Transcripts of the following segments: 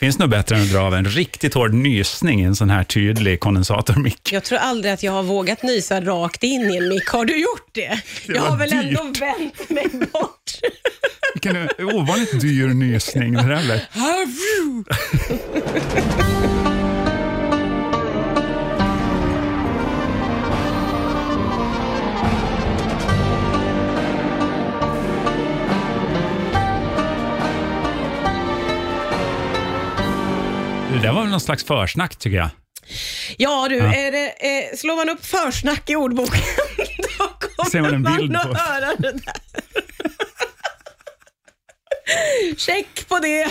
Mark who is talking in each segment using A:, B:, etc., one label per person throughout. A: Finns det något bättre än att dra av en riktigt hård nysning i en sån här tydlig kondensatormick?
B: Jag tror aldrig att jag har vågat nysa rakt in i en mick. Har du gjort det? jag
A: var
B: har väl
A: dyrt.
B: ändå vänt mig bort.
A: Vilken ovanligt dyr nysning det där blev. Det där var väl någon slags försnack tycker jag.
B: Ja du, Är det, eh, slår man upp försnack i ordboken då kommer
A: Ser man en bild
B: man
A: på.
B: att höra det där. Check på det.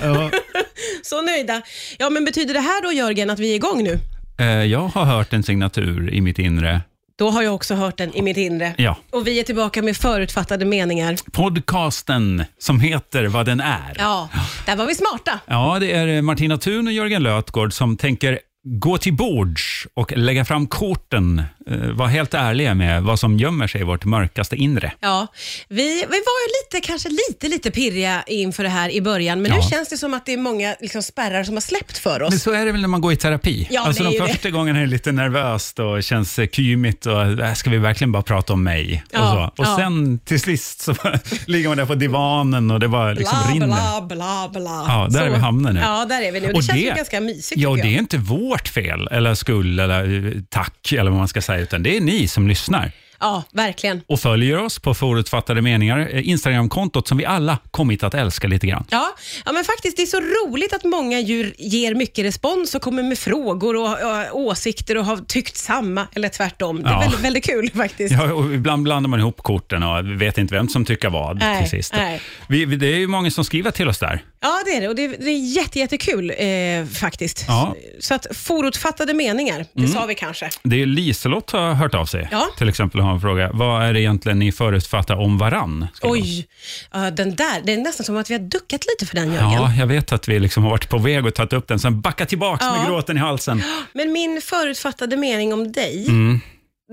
B: Så nöjda. Ja, men betyder det här då Jörgen att vi är igång nu?
A: Eh, Jag har hört en signatur i mitt inre.
B: Då har jag också hört den i mitt inre.
A: Ja.
B: Och vi är tillbaka med förutfattade meningar.
A: Podcasten som heter Vad den är.
B: Ja, där var vi smarta.
A: Ja, det är eh, Martina Thun och Jörgen Lötgård som tänker gå till bords och lägga fram korten. Eh, Var helt ärliga med vad som gömmer sig i vårt mörkaste inre.
B: Ja, vi, vi var ju lite, kanske lite, lite pirriga inför det här i början, men nu
A: Ja.
B: känns det som att det är många liksom, spärrar som har släppt för
A: Men
B: oss.
A: så är det väl när man går i terapi?
B: Alltså- Ja,
A: alltså
B: det är
A: de
B: ju det.
A: första gångerna är det lite nervöst och känns eh, kymigt och äh, ska vi verkligen bara prata om mig? och
B: Ja,
A: så. och
B: ja.
A: sen till sist så ligger man där på divanen och det bara liksom rinner.
B: bla, bla, bla.
A: Ja, där är vi hamnar nu.
B: Ja, där är vi nu. Det känns ju ganska mysigt
A: Ja, och
B: tycker
A: det är
B: jag.
A: inte vårt fel eller skuld eller eh, tack eller vad man ska säga, utan det är ni som lyssnar.
B: Ja, verkligen.
A: och följer oss på Förutfattade meningar, eh, Instagramkontot som vi alla kommit att älska lite grann.
B: Ja, ja, men faktiskt det är så roligt att många djur ger mycket respons och kommer med frågor och, och åsikter och har tyckt samma eller tvärtom. Det är
A: Ja.
B: väldigt, väldigt kul faktiskt.
A: Ja, och ibland blandar man ihop korten och vet inte vem som tycker vad
B: Nej,
A: till sist.
B: nej.
A: Vi, vi- det är ju många som skriver till oss där.
B: Ja, det är det. Och det, det är jätte, jättekul eh, faktiskt.
A: Ja. Mm.
B: Så att förutfattade meningar, det sa vi kanske.
A: Det är Liselott har hört av sig.
B: Ja.
A: Till exempel har en fråga. Vad är det egentligen ni förutfattar om varann? Skriver hon.
B: Oj, ja, den där. Det är nästan som att vi har duckat lite för den Jörgen.
A: Ja, jag vet att vi liksom har varit på väg och tagit upp den, sen backat tillbaka
B: Ja.
A: med gråten i halsen.
B: Men min förutfattade mening om dig,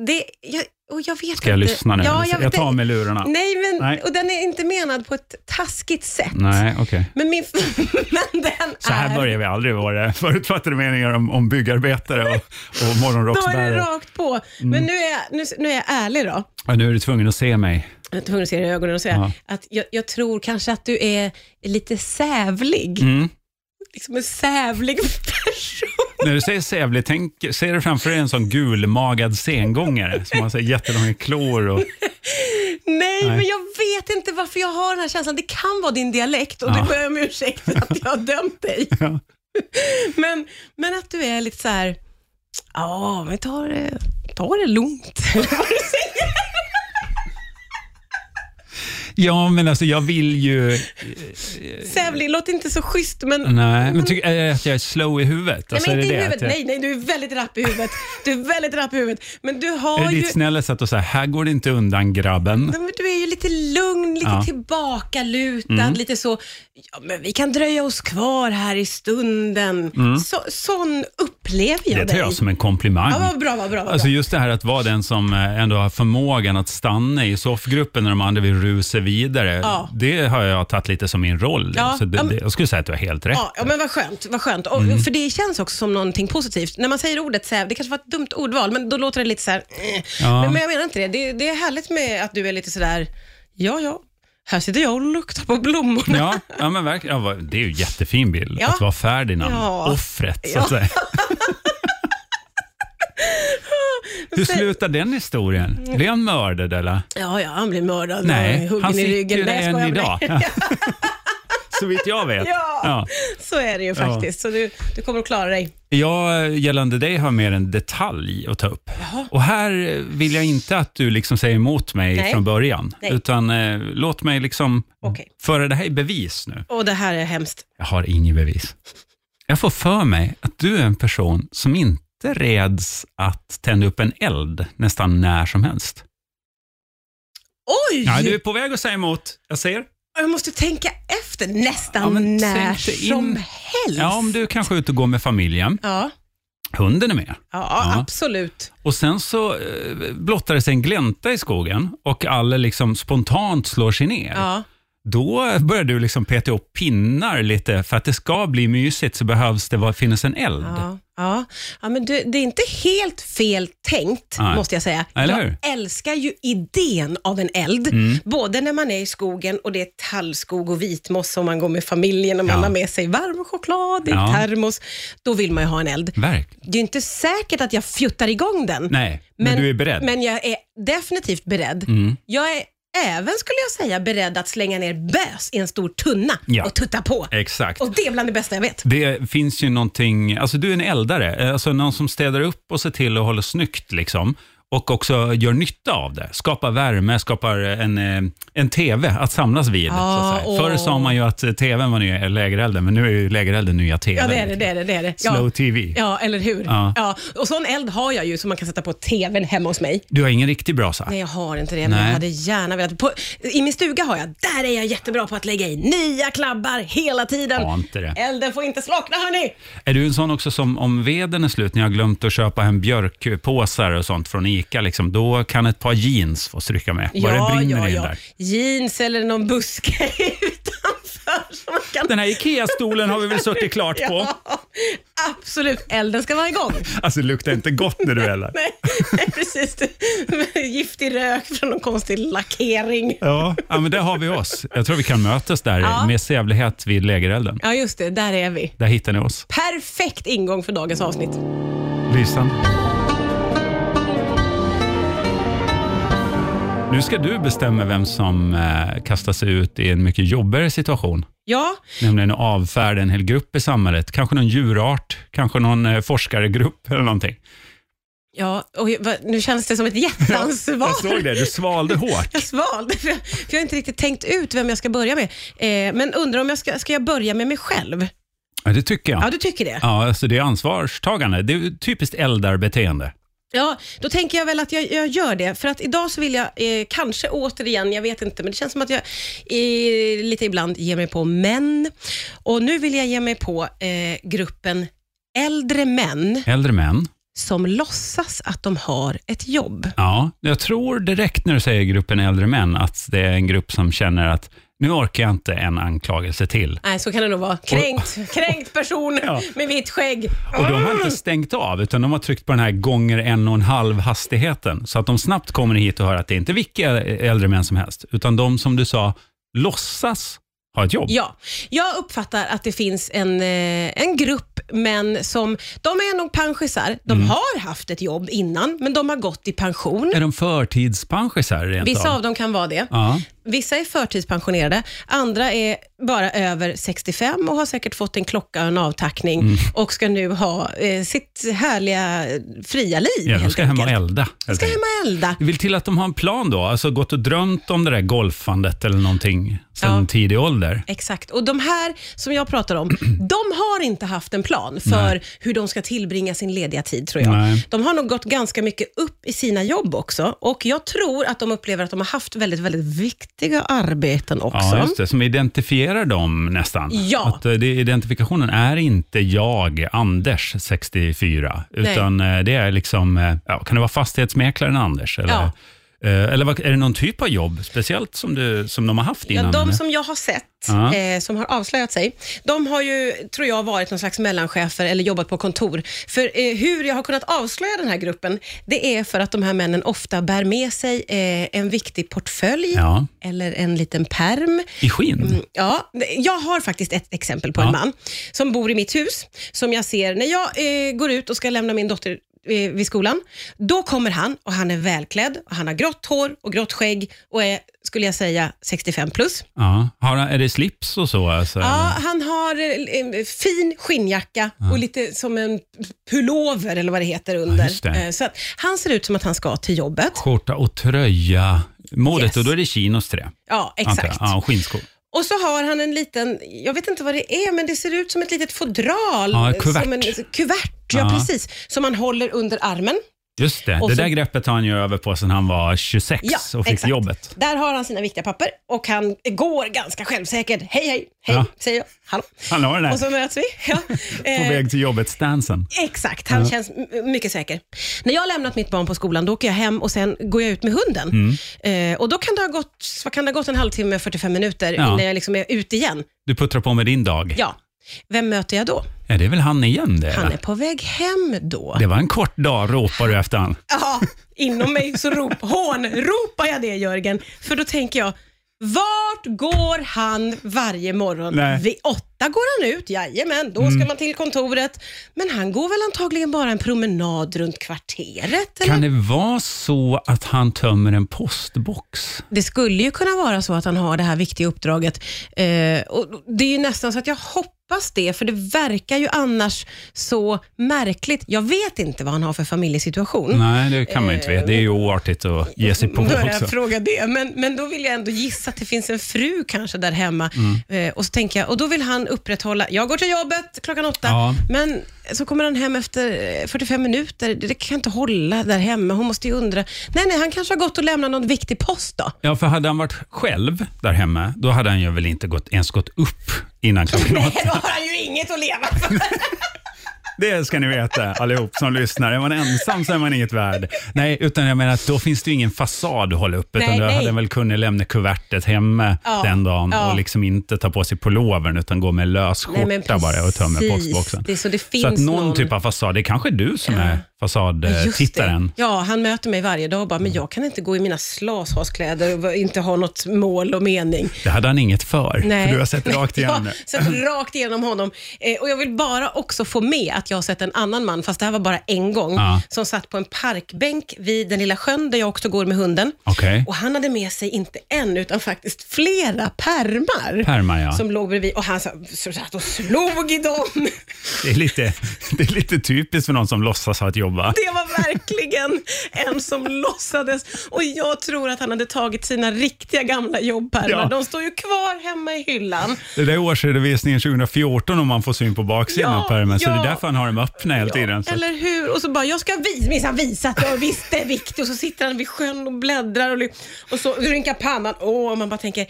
B: det, jag, och jag vet
A: Mm. Ska jag
B: inte.
A: lyssna nu?
B: Ja,
A: jag tar
B: den-
A: med lurarna.
B: Nej, men,
A: Nej.
B: och den är inte menad på ett taskigt sätt.
A: Nej, okej.
B: Men, min, men den
A: Så här
B: är...
A: börjar vi aldrig våra förutfattade meningar om, om byggarbetare och, och
B: Då är det
A: morgonrocksbärare.
B: rakt på.
A: Mm.
B: Men nu är, jag, nu, nu är jag ärlig då.
A: Ja, nu är du tvungen att se mig.
B: Jag är tvungen att se dig i ögonen och säga att jag, jag tror kanske att du är lite sävlig.
A: Mm.
B: Liksom en sävlig person.
A: När du säger sävlig, tänk, ser du framför dig en sån gulmagad sengångare som har så här jättelånga klor? Och,
B: Nej, men jag vet inte varför jag har den här känslan. Det kan vara din dialekt och
A: Ja.
B: det ber jag om ursäkt för att jag har dömt dig.
A: Ja.
B: Men, men att du är lite så här, ja, men ta det, ta det lugnt. Vad du säger.
A: ja, men alltså jag vill ju...
B: sävlig låter inte så schysst, men
A: Nej, men tycker är det att jag är slow i huvudet?
B: Nej,
A: Alltså,
B: men inte
A: Mm, är det
B: i huvudet.
A: det? att
B: Nej, nej, du är väldigt rapp i huvudet. Du är väldigt rapp i huvudet. Men du
A: jag,
B: har
A: är det
B: ju...
A: ditt snälla sätt att säga, här går det inte undan grabben?
B: Nej, men Du är ju lite lugn, lite
A: Ja. Mm.
B: tillbakalutad, lite så, ja, men vi kan dröja oss kvar här i stunden. Så, sån upplever jag
A: Mm. Det tar
B: dig.
A: jag som en komplimang.
B: Ja, vad bra, vad bra. Vad
A: Alltså
B: bra.
A: just det här att vara den som eh, ändå har förmågan att stanna i soffgruppen när de andra vill rusa vidare.
B: Ja.
A: Det har jag tagit lite som min roll.
B: Ja,
A: Så det,
B: ja, men-
A: det, jag skulle säga att du har helt rätt.
B: Ja, ja, men vad skönt. Vad skönt. Och,
A: Mm.
B: För det känns också som någonting positivt. När man säger ordet säv, det kanske var ett dumt ordval, men då låter det lite så här... eh.
A: Ja.
B: Men, men jag menar inte det. det. Det är härligt med att du är lite sådär, ja, ja, här sitter jag och luktar på blommorna.
A: Ja, ja men verkligen. Ja, vad- det är ju en jättefin bild.
B: Ja.
A: Att vara Ferdinand,
B: Ja.
A: offret så
B: Ja.
A: att säga. Hur slutar den historien? Blev han mördad eller?
B: Ja, ja, han blir mördad
A: Nej,
B: och huggen
A: han
B: i
A: sitter ju
B: ryggen.
A: där
B: jag
A: än
B: skojar.
A: idag. Så vitt jag vet.
B: Ja. Så är det ju
A: Ja.
B: faktiskt. Så du, du kommer att klara dig.
A: Jag gällande dig har mer en detalj att ta upp. Och här eh, vill jag inte att du liksom säger emot mig
B: Nej.
A: från början.
B: Nej.
A: Utan eh, låt mig liksom
B: Okej.
A: föra det här i bevis nu.
B: Och det här är hemskt.
A: Jag har inget bevis. Jag får för mig att du är en person som inte räds att tända upp en eld nästan när som helst.
B: Oj!
A: Ja, du är på väg att säga emot. Jag ser.
B: Jag måste tänka efter nästan
A: Ja, men
B: när
A: tänk dig in-
B: som helst.
A: Ja, om du kanske är ute och går med familjen.
B: ja,
A: Hunden är med.
B: ja,
A: Ja.
B: absolut.
A: Och sen så eh, blottar det sig en glänta i skogen och alla liksom spontant slår sig ner.
B: Ja.
A: då börjar du liksom peta ihop pinnar lite. För att det ska bli mysigt så behövs det vara- finnas en eld.
B: Ja, ja. ja men du, det är inte helt fel tänkt,
A: Nej.
B: måste jag säga.
A: Eller hur? Mm.
B: jag älskar ju idén av en eld, både när man är i skogen och det är tallskog och vitmossa och man går med familjen och man
A: Ja.
B: har med sig varm choklad i
A: Ja.
B: termos. Då vill man ju ha en eld.
A: Verkligen.
B: Det är inte säkert att jag fjuttar igång den.
A: Nej, men, du är beredd.
B: Men jag är definitivt beredd.
A: Mm.
B: Jag är även, skulle jag säga, beredd att slänga ner bös i en stor tunna
A: Ja. Eh.
B: och tutta på.
A: Exakt.
B: Och det är bland det bästa jag vet.
A: Det finns ju någonting, alltså du är en eldare, eh, alltså någon som städar upp och ser till att hålla snyggt liksom. Och också gör nytta av det. Skapar värme, skapar en, eh, en TV att samlas vid.
B: Ja,
A: så att säga. Förr
B: Ah, åh.
A: sa man ju att eh, TVn var nya lägerelden, men nu är ju lägerelden nya TV.
B: Ja, det är det. det, är det, det, är det. Ja.
A: Slow TV.
B: Ja, eller hur?
A: Ja.
B: Ja. Och sån eld har jag ju som man kan sätta på tvn hemma hos mig.
A: Du har ingen riktig brasa?
B: Nej, jag har inte det, men
A: Nej.
B: jag hade gärna velat. På, I min stuga har jag, där är jag jättebra på att lägga i nya klabbar hela tiden.
A: Ja, inte det.
B: Elden får inte slockna hörni!
A: Är du en sån också som om veden är slut, när jag har glömt att köpa hem björkpåsar och sånt från ICA, liksom, då kan ett par jeans få stryka med? Bara det brinner i den där.
B: Jeans eller någon buske utanför som man kan...
A: Den här IKEA-stolen har vi väl suttit klart på?
B: Ja, absolut, elden ska vara igång.
A: Alltså det luktar inte gott när du eldar.
B: Nej, nej, precis. Giftig rök från någon konstig lackering.
A: Ja, ja, men där har vi oss. Jag tror vi kan mötas där
B: Ja.
A: med sävlighet vid lägerelden.
B: Ja, just det, där är vi.
A: Där hittar ni oss.
B: Perfekt ingång för dagens avsnitt.
A: Lysande. Nu ska du bestämma vem som eh, kastar sig ut i en mycket jobbigare situation.
B: Ja,
A: Nämligen att avfärda en hel grupp i samhället. Kanske någon djurart, kanske någon eh, forskargrupp eller någonting.
B: ja och jag- va- nu känns det som ett jätteansvar.
A: Jag såg det, du svalde hårt.
B: Jag svalde, för jag, för jag har inte riktigt tänkt ut vem jag ska börja med. Eh, men undrar om jag ska, ska jag börja med mig själv?
A: Ja, det tycker jag.
B: Ja, du tycker det?
A: Ja, alltså det är ansvarstagande. Det är ju typiskt eldarbeteende.
B: Ja, då tänker jag väl att jag, jag gör det. För att idag så vill jag eh, kanske återigen, jag vet inte, men det känns som att jag eh, lite ibland ger mig på män. Och nu vill jag ge mig på eh, gruppen äldre män
A: Äldre män.
B: som låtsas att de har ett jobb.
A: Ja, jag tror direkt när du säger gruppen äldre män att det är en grupp som känner att nu orkar jag inte en anklagelse till.
B: Nej, så kan det nog vara. Kränkt, kränkt person
A: Ja.
B: med vitt skägg.
A: Och de
B: Ah!
A: har inte stängt av, utan de har tryckt på den här gånger en och en halv hastigheten. Så att de snabbt kommer hit och hör att det är inte vilka äldre män som helst, utan de som du sa låtsas ha ett jobb.
B: Ja, jag uppfattar att det finns en, eh, en grupp män som, de är nog pensionärer. De
A: Mm.
B: har haft ett jobb innan, men de har gått i pension.
A: Är de förtidspensionärer rent
B: Vissa av dem kan vara det.
A: Ja.
B: Vissa är förtidspensionerade, andra är bara över 65 och har säkert fått en klocka och en avtackning
A: Mm.
B: och ska nu ha eh, sitt härliga eh, fria liv.
A: ja, de
B: helt
A: ska hem och
B: enkelt.
A: elda. helt
B: ska
A: enkelt.
B: hem och elda.
A: Det vill till att de har en plan då, alltså gått och drömt om det där golfandet eller någonting sedan
B: Ja.
A: tidig ålder.
B: Exakt. Och de här som jag pratar om, de har inte haft en plan för hur de ska tillbringa sin lediga tid, tror jag.
A: Nej.
B: De har nog gått ganska mycket upp i sina jobb också. Och jag tror att de upplever att de har haft väldigt, väldigt viktiga arbeten också.
A: Ja, just det. Som identifierar dem nästan.
B: Ja.
A: Att eh, det, identifikationen är inte jag, Anders, 64, utan eh, det är liksom, eh, ja, kan det vara fastighetsmäklaren Anders? Eller,
B: Ja.
A: eh, eller vad- är det någon typ av jobb speciellt som, du, som de har haft
B: Ja,
A: innan?
B: de
A: eller?
B: som jag har sett,
A: Ja.
B: eh, som har avslöjat sig, de har ju, tror jag, varit någon slags mellanchefer eller jobbat på kontor. För eh, hur jag har kunnat avslöja den här gruppen, det är för att de här männen ofta bär med sig eh, en viktig portfölj
A: Ja.
B: eller en liten perm.
A: I skinn?
B: Ja, jag har faktiskt ett exempel på
A: Ja.
B: en man som bor i mitt hus, som jag ser när jag eh, går ut och ska lämna min dotter eh, vid skolan. Då kommer han och han är välklädd, och han har grått hår och grått skägg och är, skulle jag säga, 65 plus.
A: Ja. Har, han- är det slips och så? Alltså?
B: Ja, han har eh, en fin skinnjacka och lite som en pullover eller vad det heter under.
A: just det.
B: Eh, Så att han ser ut som att han ska till jobbet.
A: Skjorta och tröja, modet,
B: Yes.
A: och då är det chinos till det.
B: Ja,
A: antar jag.
B: exakt.
A: Ja, och skinnskor.
B: Och så har han en liten, jag vet inte vad det är, men det ser ut som ett litet fodral.
A: Ja, ett kuvert.
B: Som en kuvert, ja,
A: Ja.
B: precis. Som han håller under armen.
A: Just det,
B: Och
A: det
B: så-
A: där greppet har han ju över på sedan han var 26 och fick
B: exakt.
A: jobbet.
B: Där har han sina viktiga papper och han går ganska självsäkert. Hej, hej, hej,
A: Ja.
B: säger jag. Hallå.
A: Han har den
B: Och
A: här
B: så möts vi. Ja.
A: på
B: Eh,
A: väg till jobbet-stansen.
B: Exakt, han känns m- mycket säker. När jag har lämnat mitt barn på skolan, då åker jag hem och sen går jag ut med hunden.
A: Mm.
B: Eh, och då kan det ha gått, vad kan det ha gått en halvtimme, 45 minuter
A: Ja.
B: innan jag liksom är ute igen.
A: Du puttrar på med din dag.
B: Ja. Vem möter jag då?
A: Ja, det är väl han igen det?
B: Han är på väg hem då.
A: Det var en kort dag, ropar du efter han.
B: Ja, inom mig så rop, hånropar jag det Jörgen. För då tänker jag, vart går han varje morgon?
A: Nej. Mm.
B: Vid åtta går han ut, jajamän, då ska man till kontoret. Men han går väl antagligen bara en promenad runt kvarteret? Eller?
A: Kan det vara så att han tömmer en postbox?
B: Det skulle ju kunna vara så att han har det här viktiga uppdraget. Eh, och det är ju nästan så att jag hoppas det, för det verkar ju annars så märkligt. Jag vet inte vad han har för familjesituation.
A: Nej, det kan man ju inte veta. Det är ju oartigt att ge sig på
B: börja
A: också.
B: fråga det. Men, men då vill jag ändå gissa att det finns en fru kanske där hemma.
A: Mm.
B: Eh, och så tänker jag, och då vill han upprätthålla, jag går till jobbet klockan åtta,
A: Ja.
B: men så kommer han hem efter eh, 45 minuter. Det det kan jag inte hålla där hemma. Hon måste ju undra. Nej, nej, han kanske har gått och lämnat någon viktig post då.
A: Ja, för hade han varit själv där hemma, då hade han ju väl inte gått, ens gått upp innan klockan åtta.
B: Nej, då har han ju inget att leva för.
A: Det ska ni veta allihop som lyssnar. Är man ensam så är man inget värd. Nej, utan jag menar att då finns det ju ingen fasad att hålla upp. Utan
B: Nej,
A: då
B: nej.
A: hade han väl kunnat lämna kuvertet hemma
B: Ja,
A: den dagen
B: ja.
A: och liksom inte ta på sig pullovern utan gå med lös
B: Nej,
A: skjorta
B: men
A: bara och tömma
B: precis.
A: postboxen.
B: Det är så det finns
A: så att någon,
B: någon-
A: typ av fasad, det är kanske du som är
B: Just det.
A: fasadtittaren.
B: Ja, han möter mig varje dag och bara,
A: Mm.
B: men jag kan inte gå i mina slashaskläder och va- inte ha något mål och mening.
A: Det hade han inget för,
B: Nej.
A: för du har sett rakt igenom det.
B: ja, sett rakt igenom honom. Eh, och jag vill bara också få med att jag har sett en annan man, fast det här var bara en gång,
A: Ja.
B: som satt på en parkbänk vid den lilla sjön där jag också går med hunden.
A: Okej.
B: Och han hade med sig inte en, utan faktiskt flera pärmar.
A: Pärmar, ja.
B: Som låg bredvid och han sa- så satt och slog i dem.
A: Det är, lite, det är lite typiskt för någon som låtsas ha ett jobb, va?
B: Det var verkligen en som låtsades. Och jag tror att han hade tagit sina riktiga gamla jobbpärmar.
A: Ja.
B: De står ju kvar hemma i hyllan.
A: Det där är årsredovisningen 2014 om man får syn på baksidan
B: Ja,
A: av pärmen, så det är
B: ja.
A: därför han har dem öppna hela tiden. Så att-
B: Eller hur? Och så bara, jag ska visa, minsann visa att jag visst är viktig. Och så sitter han vid sjön och bläddrar och, ly- och så rynkar pannan. Åh, man bara tänker,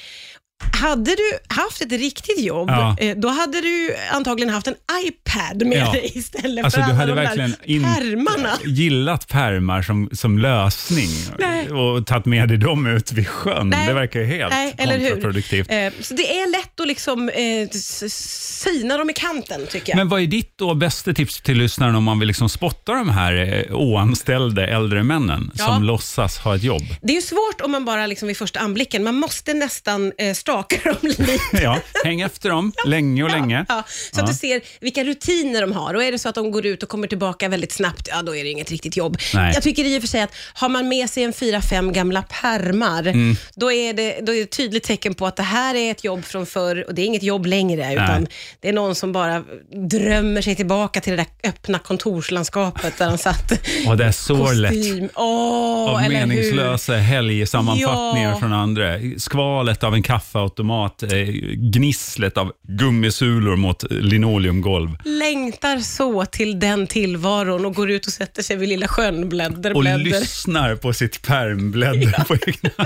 B: hade du haft ett riktigt jobb,
A: Ja.
B: eh, då hade du ju antagligen haft en iPad med
A: Ja.
B: dig istället
A: Alltså,
B: för
A: du
B: alla
A: hade
B: de
A: verkligen
B: där
A: in-
B: pärmarna.
A: gillat pärmar som, som lösning
B: Nej.
A: och tagit med dig dem ut vid sjön.
B: Nej.
A: Det verkar ju helt
B: Nej, eller hur?
A: kontraproduktivt.
B: Eh, så det är lätt att liksom eh, s- s- syna dem i kanten, tycker jag.
A: Men vad är ditt då bästa tips till lyssnaren om man vill liksom spotta de här eh, oanställda äldre männen
B: Ja.
A: som låtsas ha ett jobb?
B: Det är ju svårt om man bara liksom vid första anblicken, man måste nästan eh, staka dem lite.
A: Ja, häng efter dem länge och länge.
B: Ja, så att du ser vilka rutiner de har. Och är det så att de går ut och kommer tillbaka väldigt snabbt, ja då är det inget riktigt jobb.
A: Nej.
B: Jag tycker i och för sig att har man med sig en fyra, fem gamla pärmar,
A: Mm.
B: då, är det, då är det ett tydligt tecken på att det här är ett jobb från förr och det är inget jobb längre, utan
A: Nej.
B: det är någon som bara drömmer sig tillbaka till det där öppna kontorslandskapet där han satt.
A: Och det är så lätt.
B: Kostym. Åh,
A: Av
B: eller hur?
A: meningslösa helgsammanfattningar
B: Ja.
A: från andra. Skvalet av en kaffeautomat, eh, gnisslet av gummisulor mot linoleumgolv.
B: längtar så till den tillvaron och går ut och sätter sig vid lilla sjön, bläddar,
A: och
B: bläddar.
A: lyssnar på sitt pärmbläddar på egna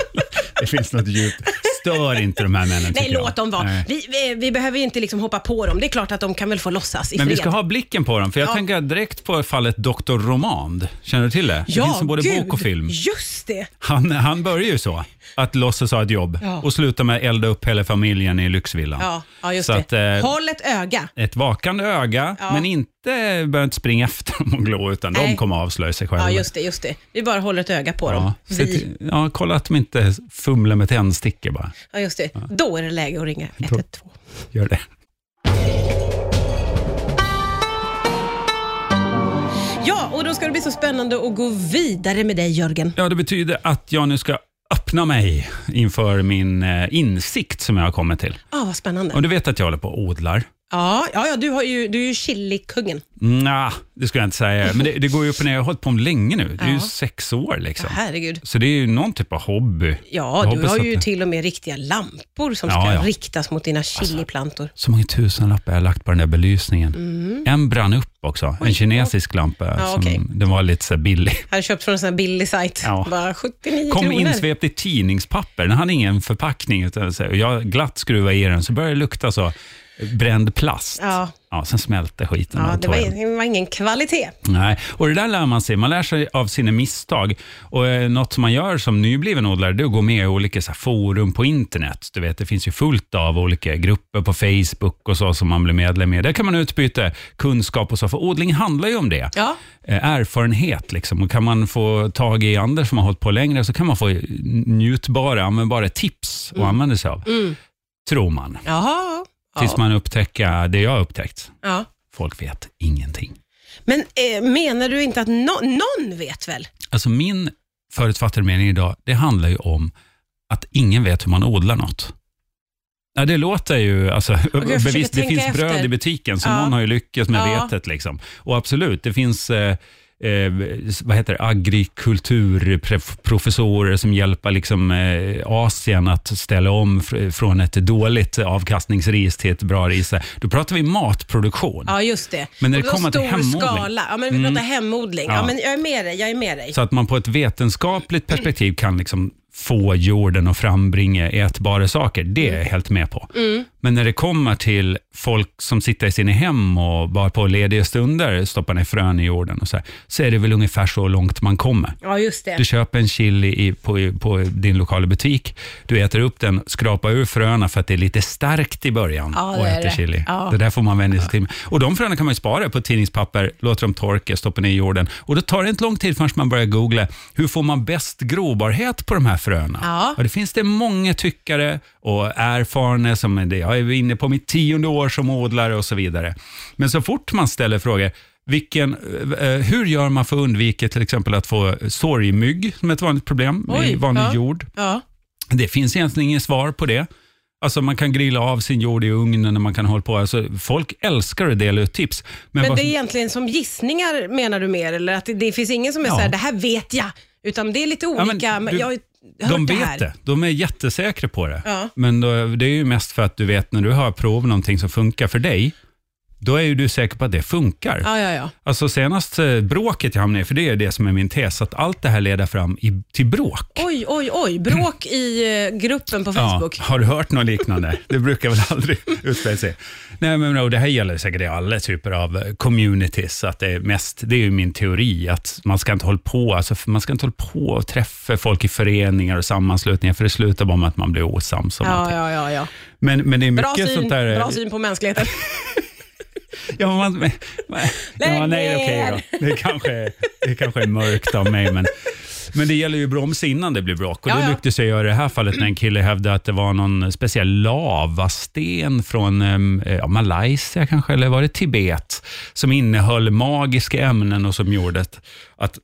A: Det finns något djupt. Stör inte de här männen
B: Nej,
A: tycker jag.
B: låt dem vara.
A: Nej.
B: Vi, vi, vi behöver ju inte liksom hoppa på dem. Det är klart att de kan väl få låtsas i
A: Men vi
B: fred.
A: ska ha blicken på dem, för jag tänker direkt på fallet Dr. Romand. Känner du till det?
B: ja,
A: det finns ju både
B: gud.
A: bok och film.
B: Just det.
A: Han, han börjar ju så, att låtsas ha ett jobb
B: Ja.
A: och slutar med att elda upp hela familjen i lyxvillan.
B: Ja, ja just
A: så
B: det.
A: Att, eh,
B: Håll ett öga.
A: ett vakande öga,
B: Ja.
A: men inte behöver inte springa efter dem och glå, utan de
B: Nej.
A: kommer att avslöja sig själva.
B: Ja, just det, just det. Vi bara håller ett öga på dem.
A: Ja, se
B: Vi.
A: till- ja, kolla att de inte fumlar med tändstickor bara.
B: Ja, just det. Då är det läge att ringa 112.
A: Gör det.
B: Ja, och då ska det bli så spännande att gå vidare med dig, Jörgen.
A: Ja, det betyder att jag nu ska öppna mig inför min eh, insikt som jag har kommit till.
B: Ja, vad spännande.
A: Och du vet att jag håller på och odlar.
B: Ja, ja, ja du, har ju, du är ju chilikungen.
A: Nja, det skulle jag inte säga. Men det, det går ju upp och ner. Jag har hållit på länge nu. Det är ju
B: Ja.
A: sex år liksom.
B: Herregud.
A: Så det är ju någon typ av hobby. Jag
B: Ja, du
A: hoppas
B: har
A: att
B: ju
A: det-
B: till och med riktiga lampor
A: Ja,
B: som ska
A: ja. Alltså.
B: riktas mot dina chiliplantor.
A: Så många tusenlappar jag har lagt på den där belysningen. En brann upp också. En kinesisk lampa.
B: Mm. Ja,
A: som,
B: okej.
A: Den var lite så här billig.
B: Jag hade köpt från en sån här billig sajt.
A: Ja.
B: Bara 79
A: Kom
B: kronor.
A: insvept i tidningspapper. Den hade ingen förpackning. Utan så här, och jag glatt skruvade i den så började det lukta så bränd plast.
B: Ja.
A: sen smälte skiten.
B: Ja,
A: och
B: det
A: tog
B: var,
A: den.
B: ingen- det var ingen kvalitet.
A: Nej, och det där lär man sig. Man lär sig av sina misstag. Och eh, Något som man gör som nybliven odlare, det är att gå med i olika så här, forum på internet. Du vet, det finns ju fullt av olika grupper på Facebook och så som man blir medlem i. Där kan man utbyta kunskap och så, för odling handlar ju om det.
B: Ja.
A: Eh, Erfarenhet liksom. Och kan man få tag i andra som har hållit på längre så kan man få njutbara, användbara tips att använda sig av. Tror man.
B: Jaha.
A: Tills
B: Ja.
A: man upptäcker det jag har upptäckt.
B: Ja.
A: Folk vet ingenting.
B: Men eh, menar du inte att no- någon vet väl?
A: Alltså min förutfattade mening idag, det handlar ju om att ingen vet hur man odlar något. Ja, det låter ju, alltså,
B: försöker
A: bevis, det
B: tänka
A: finns
B: efter.
A: bröd i butiken, så
B: Ja.
A: någon har ju lyckats med
B: Ja.
A: vetet. Liksom. Och absolut, det finns eh, eh, vad heter det, agrikulturprofessorer som hjälper liksom, eh, Asien att ställa om fr- från ett dåligt avkastningsris till ett bra ris. Då pratar vi matproduktion.
B: Ja, just det.
A: Men när det
B: Och då
A: kommer till
B: stor
A: hemodling.
B: skala. Ja, men vi pratar hemodling. Ja.
A: Ja.
B: men jag är med dig. Jag är med dig.
A: Så att man på ett vetenskapligt perspektiv kan liksom få jorden att frambringa ätbara saker, det är
B: Mm.
A: jag helt med på. Men när det kommer till folk som sitter i sina hem och bara på lediga stunder stoppar ner frön i jorden, och så, här, så är det väl ungefär så långt man kommer.
B: Ja, just det.
A: Du köper en chili i, på, på din lokala butik, du äter upp den, skrapar ur fröna för att det är lite starkt i början
B: Ja, det
A: och
B: är
A: äter
B: det.
A: chili.
B: Ja.
A: Det där får man vänja sig till. Och de fröna kan man ju spara på tidningspapper, låta dem torka, stoppa ner i jorden. Och då tar det inte lång tid förrän man börjar googla, hur får man bäst grobarhet på de här fröna?
B: Ja.
A: Och det finns det många tyckare och erfarna som är det. Jag är inne på mitt tionde år som odlare och så vidare. Men så fort man ställer frågor, vilken, eh, hur gör man för att undvika till exempel att få sorgmygg, som är ett vanligt problem i
B: Oj,
A: vanlig
B: ja.
A: jord?
B: Ja.
A: Det finns egentligen inget svar på det. Alltså man kan grilla av sin jord i ugnen och man kan hålla på. Alltså folk älskar att dela ut tips. Men,
B: Men
A: vad
B: det är
A: som-
B: egentligen som gissningar menar du mer? Eller att det, det finns ingen som är
A: Ja.
B: så här, det här vet jag. Utan det är lite
A: men
B: olika. men
A: du-
B: jag har ju hört
A: de
B: det
A: vet
B: här.
A: det. De är jättesäkra på det.
B: Ja.
A: Men då, det är ju mest för att du vet när du har provat någonting som funkar för dig, då är ju du säker på att det funkar.
B: Ja, ja, ja.
A: Alltså senast eh, bråket jag hamnade i, för det är det som är min tes, att allt det här leder fram i, till bråk.
B: Oj, oj, oj. Bråk i eh, gruppen på Facebook.
A: Ja, har du hört något liknande? Det brukar väl aldrig utspela sig. Nej, men och det här gäller säkert i alla typer av eh, communities. Att det, är mest, det är ju min teori, att man ska inte hålla på alltså, för man ska inte hålla på och träffa folk i föreningar och sammanslutningar, för det slutar bara med att man blir osams. om
B: Ja,
A: allting.
B: ja, ja, ja.
A: Men, men det är
B: Bra,
A: mycket
B: syn,
A: sånt där... eh,
B: bra syn på mänskligheten.
A: Ja, men man, ja, nej,
B: Lägg ner!
A: okej då. Det kanske, det kanske är mörkt av mig, men, men det gäller ju att bromsa innan det blir bråk. Och
B: Ja,
A: det
B: ja.
A: lyckades jag göra i det här fallet när en kille hävdade att det var någon speciell lavasten från em, ja, Malaysia kanske, eller var det Tibet, som innehöll magiska ämnen och som gjorde att, att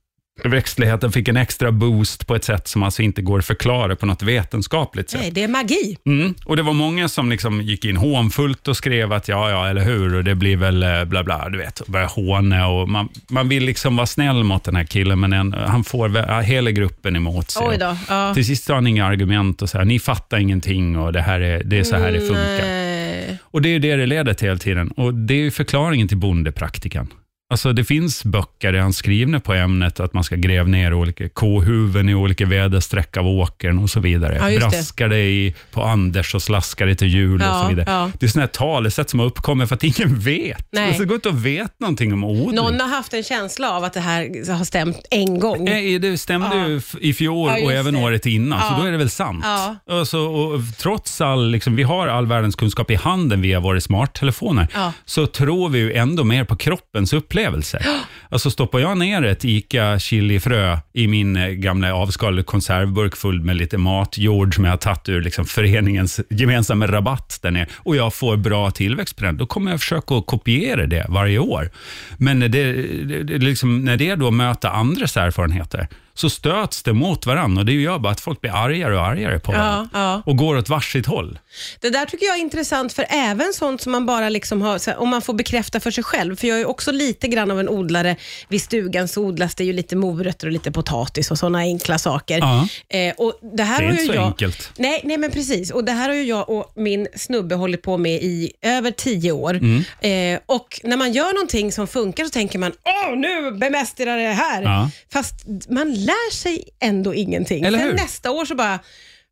A: växtligheten fick en extra boost på ett sätt som alltså inte går att förklara på något vetenskapligt sätt.
B: Nej, det är magi.
A: Mm. Och det var många som liksom gick in hånfullt och skrev att ja, ja, eller hur, och det blir väl eh, bla, bla, du vet, och började håna och man, man vill liksom vara snäll mot den här killen, men en, han får vä- ja, hela gruppen emot sig.
B: Oj då. Ja.
A: Till sist har han inga argument och så här, ni fattar ingenting och det, här är, det är så här det funkar.
B: Nej.
A: Och det är ju det det leder till hela tiden. Och det är ju förklaringen till bondepraktikan. Alltså det finns böcker redan skrivna på ämnet att man ska gräva ner olika kohuvuden i olika väderstreck av åkern och så vidare.
B: Ja, just det.
A: Braska det i, på Anders och slaska det till jul och
B: Ja,
A: så vidare.
B: ja.
A: Det är sådana här talesätt som har uppkommit för att ingen vet.
B: Nej.
A: Alltså, det går inte att vet någonting om odling.
B: Någon har haft en känsla av att det här har stämt en gång.
A: Nej, Eh, det stämde
B: Ja.
A: ju f- i fjol
B: Ja, just
A: och även
B: det.
A: året innan, så
B: Ja.
A: då är det väl sant.
B: Ja.
A: Alltså, och trots all, liksom, vi har all världens kunskap i handen via våra smarttelefoner,
B: Ja.
A: så tror vi ju ändå mer på kroppens upplevelse. Alltså stoppar jag ner ett ICA chilifrö i min eh, gamla avskalade konservburk full med lite matjord som jag har tagit ur liksom, föreningens gemensamma rabatt där nere och jag får bra tillväxt på den, då kommer jag försöka att kopiera det varje år. Men när det, det, det, liksom, när det då möter andras erfarenheter, så stöts det mot varandra och det gör bara att folk blir argare och argare på varandra.
B: ja.
A: Och går åt varsitt håll.
B: Det där tycker jag är intressant, för även sånt som man bara liksom har, så här, om man får bekräfta för sig själv, för jag är också lite grann av en odlare. Vid stugan så odlas det ju lite morötter och lite potatis och sådana enkla saker.
A: Ja.
B: Eh, och det, här
A: Det är
B: har
A: inte
B: ju
A: så
B: jag,
A: enkelt.
B: Nej, nej, men precis. Och Det här har ju jag och min snubbe hållit på med i över tio år.
A: Mm.
B: Eh, och När man gör någonting som funkar så tänker man, åh, nu bemästrar jag det här.
A: Ja.
B: Fast man lär sig ändå ingenting.
A: Eller
B: Sen
A: hur?
B: nästa år så bara,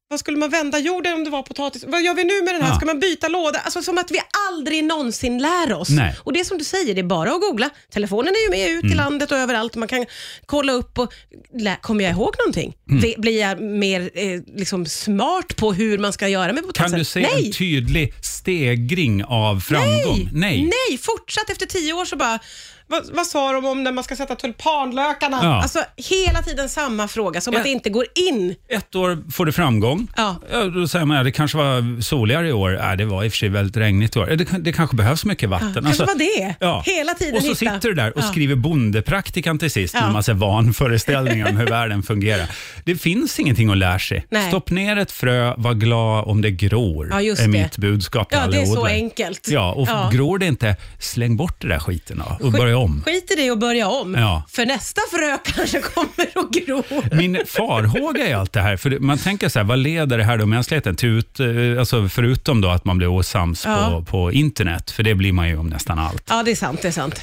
B: vad skulle man vända jorden om det var potatis? Vad gör vi nu med den här?
A: Ja.
B: Ska man byta låda? Alltså som att vi aldrig någonsin lär oss.
A: Nej. Mm.
B: Och det är som du säger, det är bara att googla. Telefonen är ju med ut i landet och överallt. Man kan kolla upp och lä- kommer jag ihåg någonting?
A: Mm.
B: Vi- Blir jag mer eh, liksom smart på hur man ska göra med
A: Kan
B: potatisen?
A: du se
B: Alltså, Nej.
A: en tydlig stegring av framgång? Nej.
B: Nej, fortsatt efter tio år så bara, vad, vad sa de om när man ska sätta tulpanlökarna?
A: Ja.
B: Alltså hela tiden samma fråga, som
A: Ja.
B: att det inte går in.
A: Ett år får du framgång.
B: Ja.
A: Då säger man att det kanske var soligare i år. Äh, det var i och för sig väldigt regnigt i år. Eh, Det, kan- det kanske behövs mycket vatten. Alltså,
B: kanske var det. Hela tiden
A: Och så
B: hitta.
A: sitter du där och
B: Ja.
A: skriver bondepraktikan till sist med
B: Ja.
A: en massa vanföreställningar om hur världen fungerar. Det finns ingenting att lära sig.
B: Nej.
A: Stopp ner ett frö, var glad om det gror.
B: Ja, just
A: är
B: det.
A: mitt budskap till
B: Ja,
A: alla
B: det är så
A: odlare.
B: enkelt.
A: Ja, och
B: Ja.
A: gror det inte, släng bort det där skiten då och börja om.
B: Skit i det och börja om.
A: Ja.
B: För nästa frö kanske kommer och gror.
A: Min farhåga är allt det här, för det- man tänker så här, vad leder det här då mänskligheten till? Ut, eh, alltså förutom då att man blir osams på,
B: Ja.
A: på internet, för det blir man ju om nästan allt.
B: Ja, det är sant. Det är sant.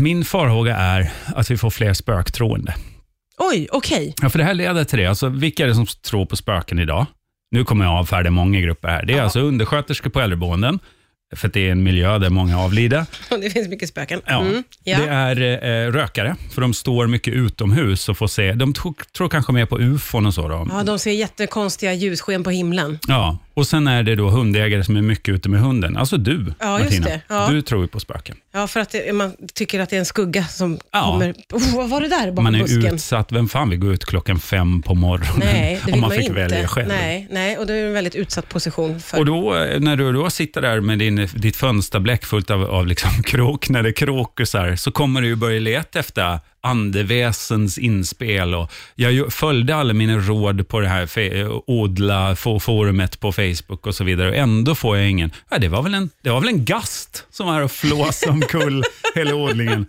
A: Min farhåga är att vi får fler spöktroende.
B: Oj, okej.
A: Ja, för det här leder till det. Alltså, vilka är det som tror på spöken idag? Nu kommer jag avfärda många grupper här. Det är alltså undersköterskor på äldreboenden, för att det är en miljö där många avlider.
B: Det finns mycket spöken.
A: Ja.
B: Mm, ja.
A: Det är eh, rökare, för de står mycket utomhus och får se. De tro, tror kanske mer på ufon och så. Då.
B: ja, de ser jättekonstiga ljussken på himlen.
A: Ja, och sen är det då hundägare som är mycket ute med hunden. Alltså du,
B: Ja, just
A: Martina.
B: det. Ja.
A: Du tror ju på spöken.
B: Ja, för att det, man tycker att det är en skugga som
A: Ja.
B: kommer. Oh, vad var det där bakom
A: Man är
B: busken?
A: utsatt. Vem fan vill gå ut klockan fem på morgonen
B: Nej, det vill
A: om man
B: man
A: fick
B: inte.
A: välja själv?
B: Nej, nej, och det är en väldigt utsatt position. För.
A: Och då, eh, när du då sitter där med din, ditt fönsterbläck fullt av, av liksom kråk, när det är kråkusar, så kommer du ju börja leta efter andeväsens inspel. Och jag ju- följde alla mina råd på det här fe- odla fo- forumet på Facebook och så vidare och ändå får jag ingen. Ja, det, var väl en, det var väl en gast som var här och flåsade omkull hela odlingen.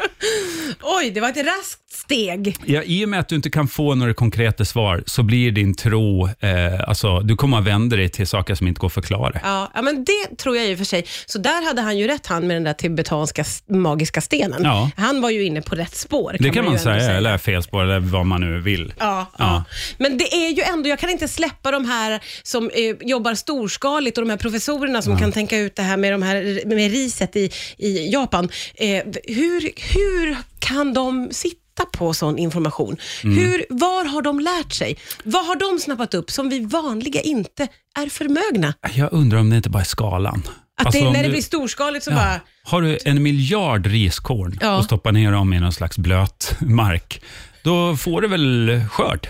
B: Oj, det var ett raskt steg.
A: Ja, I och med att du inte kan få några konkreta svar så blir din tro, eh, alltså, du kommer att vända dig till saker som inte går att förklara.
B: Ja, ja, men det tror jag i och för sig. Så där hade han ju rätt, han med den där tibetanska s- magiska stenen.
A: Ja.
B: Han var ju inne på rätt spår.
A: Det kan man,
B: ju ändå
A: säga, eller felspår eller vad man nu vill.
B: Ja, ja.
A: Ja.
B: men det är ju ändå, jag kan inte släppa de här som eh, jobbar storskaligt och de här professorerna som kan tänka ut det här med, de här, med riset i, i Japan. Eh, hur, hur kan de sitta på sån information?
A: Mm.
B: Hur, var har de lärt sig? Vad har de snappat upp som vi vanliga inte är förmögna?
A: Jag undrar om det inte bara är skalan.
B: Att
A: Alltså,
B: det,
A: om
B: när det
A: du-
B: blir storskaligt så
A: Ja.
B: bara,
A: Har du en miljard riskorn
B: Ja.
A: och stoppar ner dem i någon slags blöt mark, då får du väl skörd.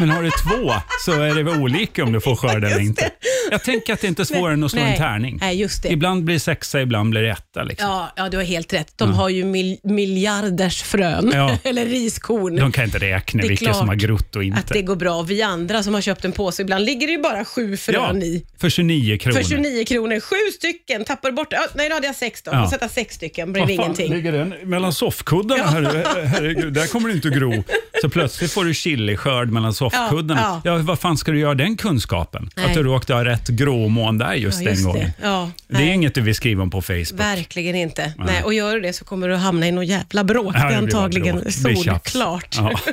A: Men har du två så är det väl olika om du får skörd eller inte. Jag tänker att det inte är svårare än att slå en
B: Nej.
A: tärning.
B: Nej, just det.
A: Ibland blir det sexa, ibland blir det etta. Liksom.
B: Ja, ja, du har helt rätt. De har ju mil- miljarders frön,
A: Ja.
B: eller riskorn.
A: De kan inte räkna
B: Det är
A: vilka som har
B: klart
A: grott och
B: att
A: inte.
B: det går bra. Vi andra som har köpt en påse, ibland ligger det ju bara sju
A: ja,
B: frön i.
A: för 29 kronor.
B: För 29 kronor, sju stycken, tappar bort, ja, nej då hade jag sex då,
A: Ja.
B: får sätta sex stycken, blev
A: Vad fan,
B: ingenting.
A: Ligger den mellan soffkuddarna? Herre, herregud, där kommer det inte att gro. Så plötsligt får du chiliskörd mellan soffkuddarna. Ja,
B: Ja,
A: vad fan ska du göra den kunskapen?
B: Nej.
A: Att du råkade ha rätt gråmån där just,
B: Ja, just
A: den
B: det.
A: gången.
B: Ja,
A: det är
B: nej.
A: inget du vill skriva om på Facebook.
B: Verkligen inte. Nej, och gör du det så kommer du hamna i något jävla bråk.
A: Ja,
B: det
A: det
B: är
A: blir bara
B: antagligen
A: bråk. Det blir tjafs.
B: solklart.
A: Ja.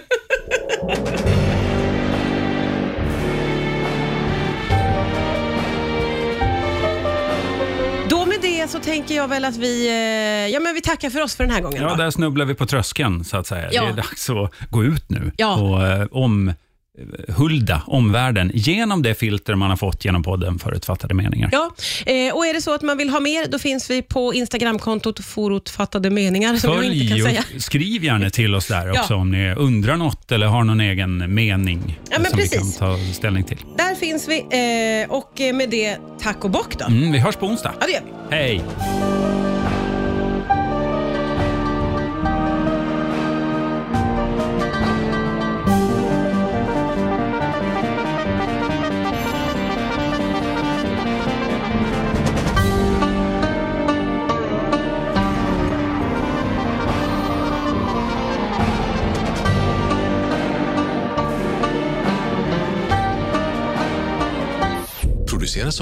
B: Då med det så tänker jag väl att vi, eh, ja, men vi tackar för oss för den här gången.
A: ja,
B: va?
A: där snubblar vi på tröskeln så att säga.
B: Ja.
A: Det är dags att gå ut nu
B: Ja.
A: och eh, om eh, hulda omvärlden genom det filter man har fått genom podden Förutfattade meningar.
B: Ja, eh, och är det så att man vill ha mer, då finns vi på Instagramkontot forotfattade meningar, som jag inte kan
A: Följ
B: säga.
A: och skriv gärna till oss där
B: Ja.
A: också om ni undrar något eller har någon egen mening
B: Ja, men
A: som vi
B: precis.
A: kan ta ställning till.
B: Där finns vi eh, och eh, med det, tack och bock då.
A: Mm, vi hörs på onsdag.
B: Ja, det gör vi.
A: Hej!
C: produceras